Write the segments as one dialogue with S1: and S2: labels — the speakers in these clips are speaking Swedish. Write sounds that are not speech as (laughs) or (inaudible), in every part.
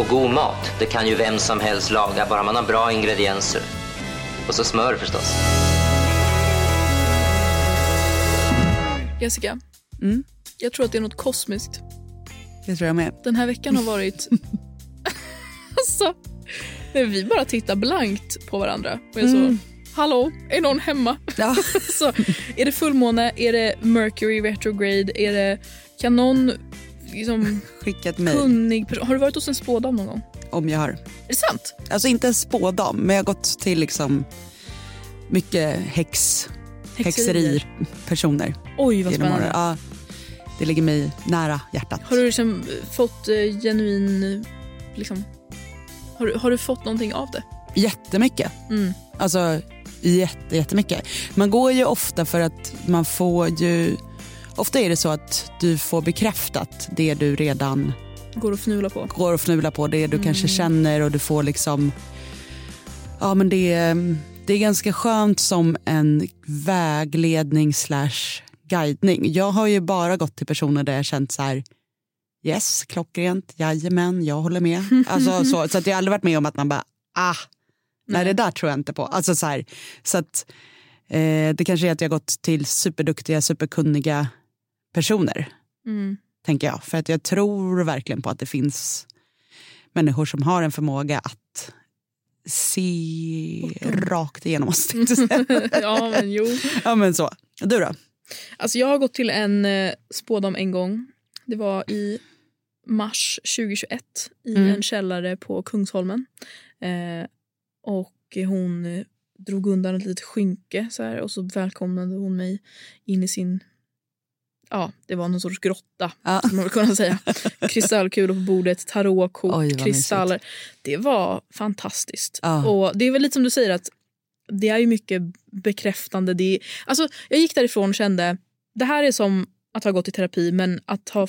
S1: Och god mat, det kan ju vem som helst laga, bara man har bra ingredienser. Och så smör förstås.
S2: Jessica,
S3: Mm.
S2: jag tror att det är något kosmiskt.
S3: Det tror jag med.
S2: Den här veckan har
S3: (laughs)
S2: varit... alltså, när vi bara tittar blankt på varandra. Och jag så, hallå, är någon hemma?
S3: Mm. Ja.
S2: (laughs) så, är det fullmåne? Är det Mercury retrograde? Är det, kan någon liksom,
S3: Skicka ett mejl
S2: kunnig person... Har du varit hos en spådam någon gång?
S3: om jag har.
S2: Är det sant?
S3: Alltså inte en spådam, men jag har gått till liksom mycket häx,
S2: Häxerier.
S3: häxeripersoner.
S2: Oj, vad
S3: genom åren.
S2: spännande.
S3: Ja, det ligger mig nära hjärtat.
S2: Har du liksom fått eh, genuin... Liksom, har, du- har du fått någonting av det?
S3: Jättemycket.
S2: Mm.
S3: Alltså jätte, jättemycket. Man går ju ofta för att man får ju... Ofta är det så att du får bekräftat det du redan
S2: Går att fnula på?
S3: går och fnular på, det du kanske känner och du får liksom... Ja men det, är- det är ganska skönt som en vägledning slash guidning. Jag har ju bara gått till personer där jag känt så här yes, klockrent, jajamän, jag håller med. Alltså, så så att jag har aldrig varit med om att man bara ah, nej det där tror jag inte på. Alltså så här, så att eh, det kanske är att jag har gått till superduktiga, superkunniga personer
S2: Mm.
S3: tänker jag. För att jag tror verkligen på att det finns människor som har en förmåga att se rakt igenom oss. tänkte
S2: (laughs)
S3: jag säga.
S2: ja, men jo.
S3: ja, men så. Du då?
S2: Alltså jag har gått till en eh, spådam en gång. Det var i mars 2021 i
S3: Mm.
S2: en källare på Kungsholmen. Eh, och hon eh, drog undan ett litet skynke så här, och så välkomnade hon mig in i sin... Ja, det var någon sorts grotta,
S3: Ja.
S2: som man väl kunna
S3: (laughs)
S2: säga. Kristallkulor på bordet, tarotkort,
S3: Oj, vad
S2: kristaller. Det var fantastiskt.
S3: Ja.
S2: Och Det är väl lite som du säger, att det är ju mycket bekräftande. Det är, alltså, jag gick därifrån och kände det här är som att ha gått i terapi men att ha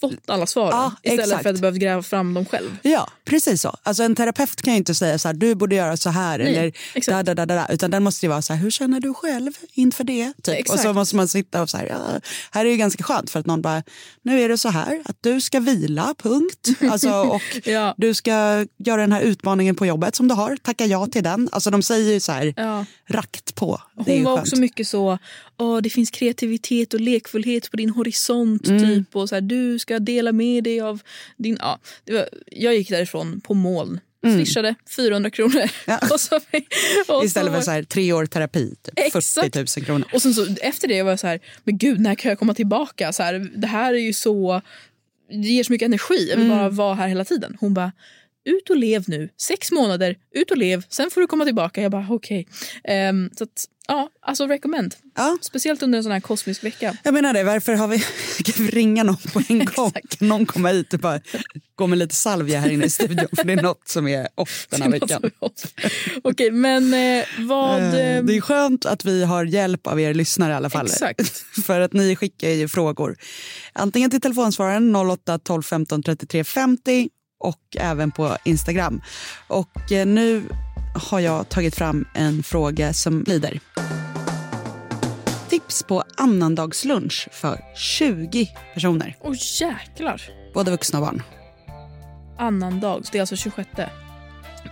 S2: fått alla svaren
S3: Ja,
S2: istället
S3: exakt.
S2: för att behöva gräva fram dem själv.
S3: Ja, precis så. Alltså en terapeut kan ju inte säga så här, du borde göra så här
S2: Nej,
S3: eller da,
S2: exakt.
S3: da, da, da, da, utan den måste ju vara så här, hur känner du själv inför det? Typ. Och
S2: Exakt.
S3: så måste man sitta och så här, ja, här är ju ganska skönt för att någon bara, nu är det så här att du ska vila, punkt.
S2: (laughs)
S3: Alltså, och
S2: Ja.
S3: du ska göra den här utmaningen på jobbet som du har, tacka ja till den. Alltså de säger ju så här,
S2: Ja.
S3: rakt på. Det är
S2: Hon
S3: ju
S2: var
S3: skönt.
S2: också mycket så, Åh, det finns kreativitet och lekfullhet på din horisont.
S3: Mm.
S2: typ och så här, Du ska dela med dig av din... Ja, det var, jag gick därifrån på moln. Swishade 400 kronor.
S3: Mm. Ja.
S2: (laughs) Och så, och
S3: Istället för så här, tre år terapi, typ,
S2: Exakt.
S3: 40 000 kronor.
S2: Och sen så efter det var jag så här, men gud när kan jag komma tillbaka? Så här, det här är ju så, det ger så mycket energi, jag vill bara
S3: Mm.
S2: vara här hela tiden. Hon bara, ut och lev nu, sex månader, ut och lev, sen får du komma tillbaka. Jag bara okej. Ehm, så att, ja, alltså recommend.
S3: Ja.
S2: Speciellt under en sån här kosmisk vecka.
S3: Jag menar det, varför har vi... (laughs) Kan vi ringa någon på en gång? Kan någon komma hit och bara gå med lite salvia här inne i studion? För det är något som är off den
S2: (laughs)
S3: här
S2: Det var så
S3: veckan.
S2: gott. Okej, men eh, vad...
S3: Eh,
S2: ehm,
S3: Det är skönt att vi har hjälp av er lyssnare i alla fall.
S2: Exakt.
S3: (laughs) För att ni skickar ju frågor. Antingen till telefonsvararen 08 12 15 33 50 och även på Instagram. Och eh, nu har jag tagit fram en fråga som lyder. Tips på annandagslunch för 20 personer,
S2: Åh jäklar.
S3: både vuxna och barn.
S2: Annandag, det är alltså 26.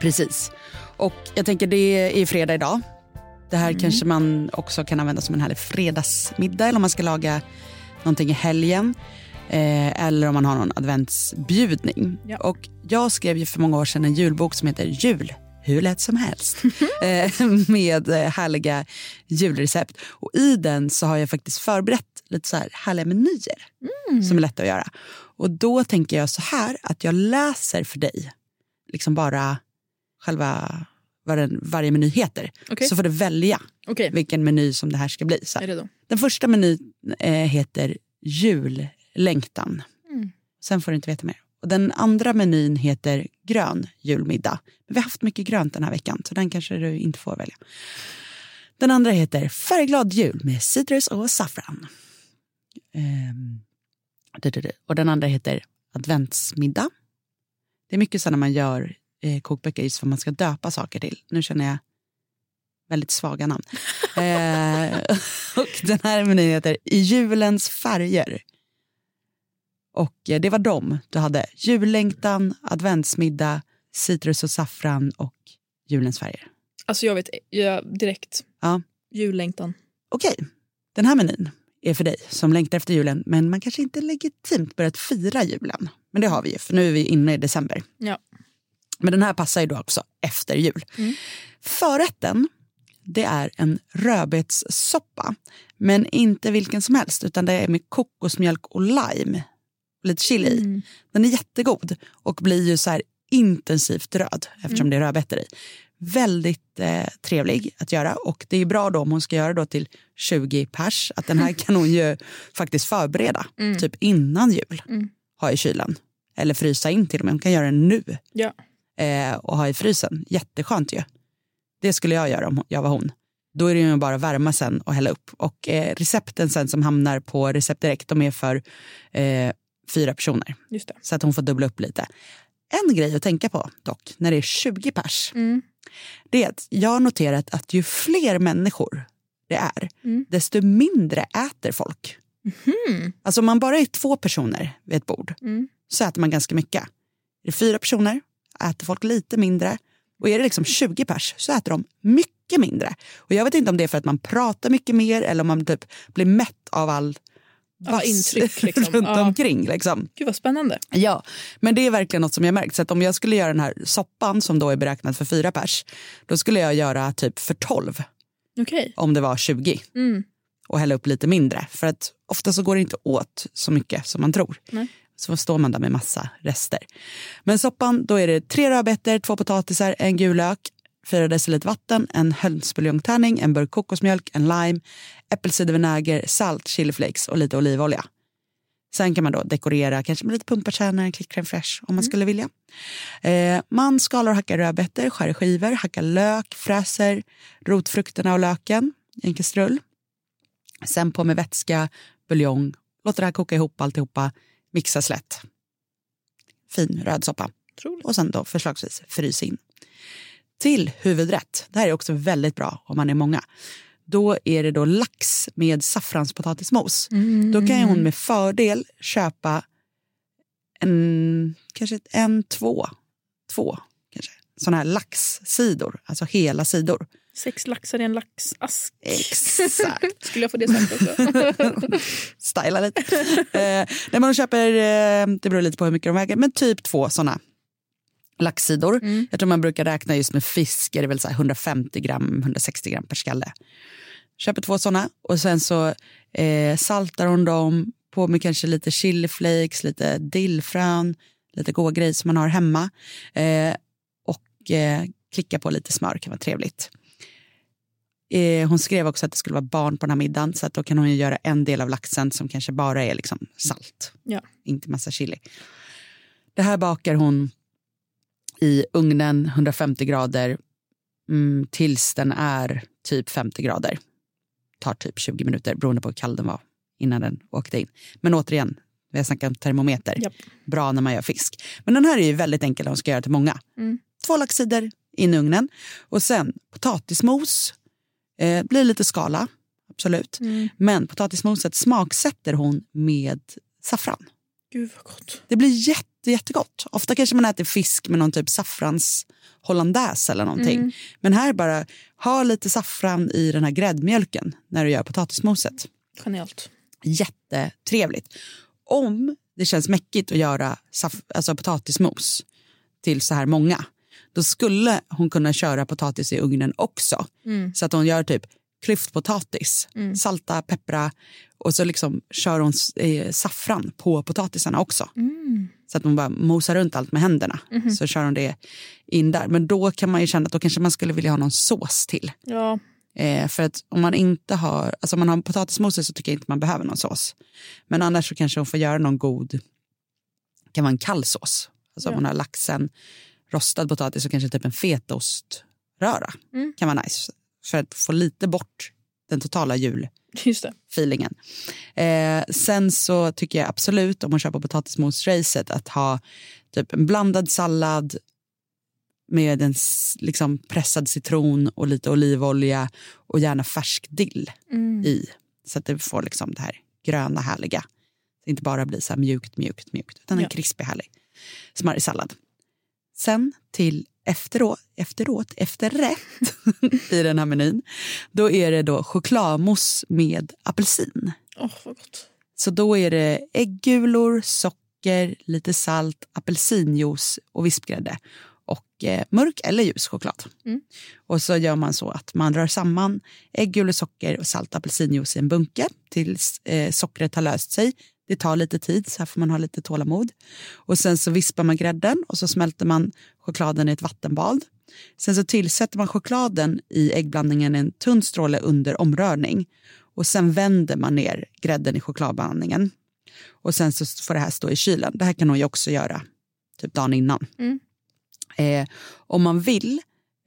S3: Precis. Och jag tänker det är ju fredag idag. Det här kanske man också kan använda som en härlig fredagsmiddag eller om man ska laga någonting i helgen. Eh, eller om man har någon adventsbjudning.
S2: Ja.
S3: Och jag skrev ju för många år sedan en julbok som heter Jul hur lätt
S2: (laughs)
S3: som helst eh, med eh, härliga julrecept. Och I den så har jag faktiskt förberett lite så här härliga menyer
S2: Mm.
S3: som är lätta att göra. Och Då tänker jag så här att jag läser för dig liksom bara själva vad den, varje meny heter.
S2: Okej.
S3: Så får du välja
S2: Okej,
S3: vilken meny som det här ska bli. Så
S2: jag
S3: här.
S2: är redo.
S3: Den första menyn eh, heter jullängtan.
S2: Mm.
S3: Sen får du inte veta mer. Och den andra menyn heter grön julmiddag. Men vi har haft mycket grönt den här veckan så den kanske du inte får välja. Den andra heter färgglad jul med citrus och saffran. Ehm, du, du, du. Och den andra heter adventsmiddag. Det är mycket så när man gör eh, kokböcker just för man ska döpa saker till. Nu känner jag väldigt svaga namn. eh, (laughs) och den här menyn heter I julens färger. Och eh, det var dem du hade. Jullängtan, adventsmiddag, citrus och saffran och julens färger.
S2: Alltså jag vet jag, direkt.
S3: Ja.
S2: Jullängtan.
S3: Okej, den här menyn är för dig som längtar efter julen men man kanske inte legitimt börjat fira julen. Men det har vi ju, för nu är vi inne i december.
S2: Ja.
S3: Men den här passar ju då också efter jul. Förrätten, det är en rödbetssoppa. Men inte vilken som helst, utan det är med kokosmjölk och lime. Och lite chili
S2: Mm.
S3: i. Den är jättegod och blir ju så här intensivt röd eftersom det är rödbetor i. Väldigt eh, trevlig att göra och det är bra då om hon ska göra då till 20 pers att den här kan hon ju faktiskt förbereda typ innan jul. Ha i kylen eller frysa in till och med. Hon kan göra den nu
S2: Ja.
S3: eh, och ha i frysen. Jätteskönt ju. Det skulle jag göra om hon- jag var hon. Då är det ju bara att värma sen och hälla upp. Och eh, recepten sen som hamnar på Recept Direkt, de är för eh, fyra personer.
S2: Just det.
S3: Så att hon får dubbla upp lite. En grej att tänka på dock, när det är 20 pers,
S2: Mm.
S3: det är att jag har noterat att ju fler människor det är,
S2: Mm.
S3: desto mindre äter folk.
S2: Mhm.
S3: Alltså om man bara är två personer vid ett bord
S2: Mm.
S3: så äter man ganska mycket. Är det fyra personer äter folk lite mindre. Och är det liksom 20 pers så äter de mycket mindre. Och jag vet inte om det är för att man pratar mycket mer eller om man typ blir mätt av all vass
S2: intryck, liksom.
S3: (laughs) runt
S2: Ja.
S3: omkring. Liksom.
S2: Gud vad spännande.
S3: Ja, men det är verkligen något som jag märkt. Så att om jag skulle göra den här soppan som då är beräknad för fyra pers, då skulle jag göra typ för 12
S2: Okej.
S3: om det var 20
S2: Mm.
S3: och hälla upp lite mindre. För att ofta så går det inte åt så mycket som man tror.
S2: Nej.
S3: Så står man där med massa rester. Men soppan, då är det tre rödbetor, två potatisar, en gul lök, fyra deciliter vatten, en hönsbuljongtärning, en burk kokosmjölk, en lime, äppelcidervinäger, salt, chiliflakes och lite olivolja. Sen kan man då dekorera kanske med lite pumpatjärna, en klick crème fraîche
S2: Mm.
S3: om man skulle vilja. Eh, man skalar och hackar rödbetor, skär i skivor, hackar lök, fräser rotfrukterna och löken i en kastrull. Sen på med vätska, buljong, låter det här koka ihop alltihopa, mixa lätt. Fin röd soppa.
S2: Otroligt.
S3: Och sen då förslagsvis frys in. Till huvudrätt, det här är också väldigt bra om man är många. Då är det då lax med saffranspotatismos. Då kan ju hon med fördel köpa en, kanske ett- en, två, två kanske. Sådana här laxsidor, alltså hela sidor.
S2: Sex laxar i en laxask.
S3: Exakt.
S2: Skulle jag få det sagt också?
S3: (laughs) styla lite. eh, nej, men de köper, eh, det beror lite på hur mycket de väger, men typ två sådana laxsidor. Jag tror man brukar räkna just med fisk, är det väl så här 150 gram, 160 gram per skalle. Köper två sådana och sen så eh, saltar hon dem på med kanske lite chiliflakes, lite dillfrön, lite goda grejer som man har hemma. Eh, och eh, klicka på lite smör kan vara trevligt. Eh, hon skrev också att det skulle vara barn på den här middagen så att då kan hon ju göra en del av laxen som kanske bara är liksom salt,
S2: (laughs) Ja.
S3: inte massa chili. Det här bakar hon i ugnen 150 grader mm, tills den är typ 50 grader. Tar typ 20 minuter beroende på hur kall den var innan den åkte in. Men återigen, vi har snackat om termometer.
S2: Japp.
S3: Bra när man gör fisk. Men den här är ju väldigt enkel om man ska göra till många. Två laxsidor in i ugnen och sen potatismos Eh, blir lite skala, absolut. Men potatismoset smaksätter hon med saffran.
S2: Gud vad gott.
S3: Det blir jätte, jättegott. Ofta kanske man äter fisk med någon typ saffrans hollandaise eller någonting. Men här bara, ha lite saffran i den här gräddmjölken när du gör potatismoset.
S2: Genialt.
S3: Jättetrevligt. Om det känns mäckigt att göra saff- alltså potatismos till så här många då skulle hon kunna köra potatis i ugnen också. Så att hon gör typ klyftpotatis, salta, peppra och så liksom kör hon eh, saffran på potatisarna också. Så att hon bara mosar runt allt med händerna. Så kör hon det in där. Men då kan man ju känna att då kanske man skulle vilja ha någon sås till.
S2: Ja.
S3: Eh, för att om man inte har, alltså om man har potatismos i så tycker jag inte man behöver någon sås. Men annars så kanske hon får göra någon god kan vara en kall sås. Alltså om
S2: Ja.
S3: man har laxen, rostad potatis och kanske typ en fetaoströra.
S2: Mm.
S3: Kan vara nice. För att få lite bort den totala jul
S2: Just det.
S3: feelingen. Eh, sen så tycker jag absolut om man köper potatismos-racet att ha typ en blandad sallad med en s- liksom pressad citron och lite olivolja och gärna färsk dill
S2: Mm.
S3: i. Så att det får liksom det här gröna härliga. Så inte bara blir så här mjukt, mjukt, mjukt utan
S2: Ja.
S3: en krispig härlig smarrig sallad. Sen till efteråt, efteråt, efterrätt (laughs) i den här menyn. Då är det då chokladmousse med apelsin.
S2: Åh, vad gott.
S3: Så då är det äggulor, socker, lite salt, apelsinjuice och vispgrädde och eh, mörk eller ljus choklad.
S2: Mm.
S3: Och så gör man så att man rör samman äggulor, socker och salt och apelsinjuice i en bunke tills eh, sockret har löst sig. Det tar lite tid, så här får man ha lite tålamod. Och sen så vispar man grädden och så smälter man chokladen i ett vattenbad. Sen så tillsätter man chokladen i äggblandningen en tunn stråle under omrörning och sen vänder man ner grädden i chokladblandningen. Och sen så får det här stå i kylen. Det här kan hon ju också göra typ dagen innan.
S2: Mm.
S3: Eh, om man vill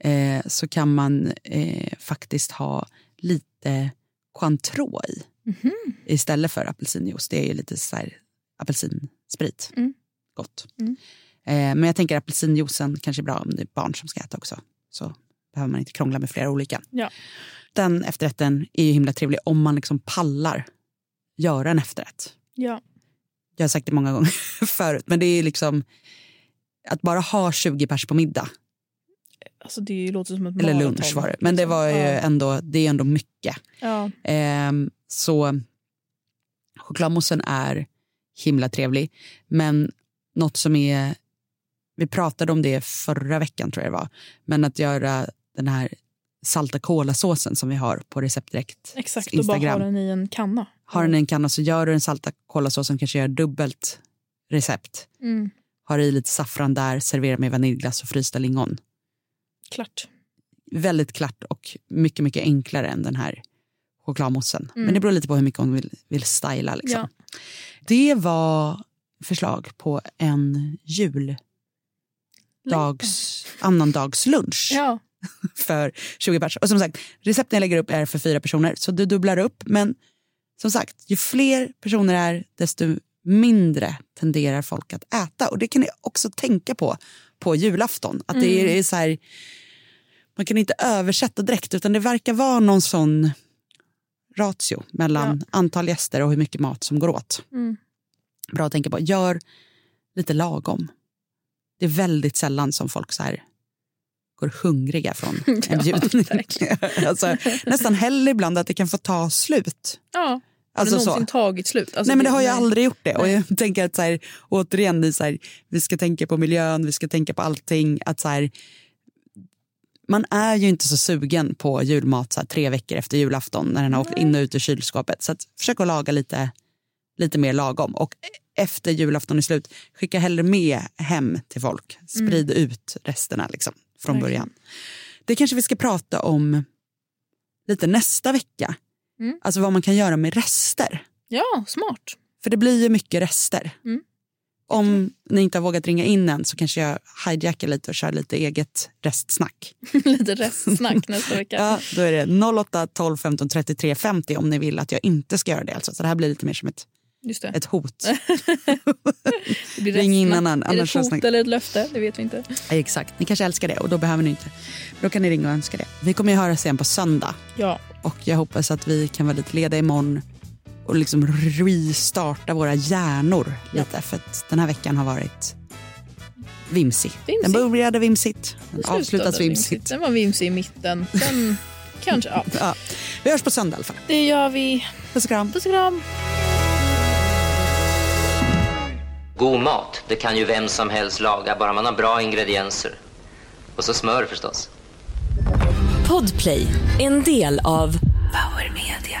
S3: eh, så kan man eh, faktiskt ha lite Cointreau i
S2: Mhm.
S3: istället för apelsinjuice. Det är ju lite så här apelsinsprit.
S2: Mm.
S3: Gott.
S2: Mm.
S3: Eh, men jag tänker apelsinjuicen kanske är bra om det är barn som ska äta också. Så behöver man inte krångla med flera olika.
S2: Ja.
S3: Den efterrätten är ju himla trevlig om man liksom pallar göra en efterrätt.
S2: Ja.
S3: Jag har sagt det många gånger (laughs) förut, men det är liksom att bara ha 20 pers på middag,
S2: Alltså det låter som ett
S3: eller
S2: maraton,
S3: lunch var det, men det,
S2: liksom.
S3: var ju
S2: Ja.
S3: ändå, det är ändå mycket.
S2: Ja.
S3: Ehm, så chokladmoussen är himla trevlig. Men något som är... Vi pratade om det förra veckan, tror jag det var. Men att göra den här salta kolasåsen som vi har på Recept Direkt
S2: Exakt, och bara ha
S3: Instagram.
S2: den i en kanna.
S3: Har den i en kanna så gör du den salta kolasåsen, kanske gör dubbelt recept.
S2: Mm.
S3: Har i lite saffran där, servera med vaniljglass och frysta lingon.
S2: Klart.
S3: väldigt klart och mycket, mycket enklare än den här chokladmoussen.
S2: Mm.
S3: Men det beror lite på hur mycket hon vill, vill styla. Liksom.
S2: Ja.
S3: Det var förslag på en juldags, annandagslunch
S2: Ja.
S3: för 20 personer. Och som sagt, recepten jag lägger upp är för fyra personer, så du dubblar upp. Men som sagt, ju fler personer det är, desto mindre tenderar folk att äta. Och det kan ni också tänka på på julafton. Att det är, är så här, man kan inte översätta direkt, utan det verkar vara någon sån ratio mellan antal gäster och hur mycket mat som går åt.
S2: Mm.
S3: Bra att tänka på. Gör lite lagom. Det är väldigt sällan som folk så här går hungriga från
S2: (laughs)
S3: en bjudning. (laughs) alltså, nästan hellre ibland att det kan få ta slut.
S2: ja.
S3: Alltså
S2: har det
S3: så.
S2: någonsin tagit slut? Alltså
S3: nej, men det har ju
S2: nej.
S3: aldrig gjort det. Och jag tänker att så här, återigen, det är så här, vi ska tänka på miljön, vi ska tänka på allting. Att så här, man är ju inte så sugen på julmat så här, tre veckor efter julafton när den har åkt in och ut ur kylskåpet. Så att, försök att laga lite, lite mer lagom. Och efter julafton är slut, skicka hellre med hem till folk. Sprid
S2: Mm.
S3: ut resterna liksom, från
S2: Verkligen.
S3: början. Det kanske vi ska prata om lite nästa vecka.
S2: Mm.
S3: Alltså vad man kan göra med rester.
S2: Ja, smart. (laughs)
S3: För det blir ju mycket rester.
S2: Mm.
S3: Om ni inte har vågat ringa in än så kanske jag hijackar lite och kör lite eget restsnack.
S2: Lite restsnack nästa vecka.
S3: (laughs) Ja, då är det 08 12 15 33 50 om ni vill att jag inte ska göra det. Alltså. Så det här blir lite mer som ett,
S2: Just det.
S3: ett hot.
S2: det blir
S3: ring in
S2: restsnack.
S3: annan,
S2: Är det
S3: annars
S2: ett
S3: så
S2: hot
S3: snack-
S2: eller ett löfte? Det vet vi inte.
S3: (laughs) Exakt, ni kanske älskar det och då behöver ni inte. Då kan ni ringa och önska det. Vi kommer ju höras igen på söndag
S2: Ja,
S3: och jag hoppas att vi kan vara lite lediga imorgon och liksom restarta våra hjärnor lite för att den här veckan har varit vimsig. Den
S2: Vimsig.
S3: började vimsigt, den
S2: slutade
S3: avslutas
S2: vimsigt.
S3: vimsigt.
S2: Den var vimsig i mitten. Sen kanske,
S3: (laughs)
S2: ja.
S3: Ja. Vi hörs på söndag i alla fall.
S2: Det gör vi.
S3: Puss och kram.
S2: Puss och kram.
S1: God mat, det kan ju vem som helst laga, bara man har bra ingredienser. Och så smör förstås.
S4: Podplay, en del av Power Media.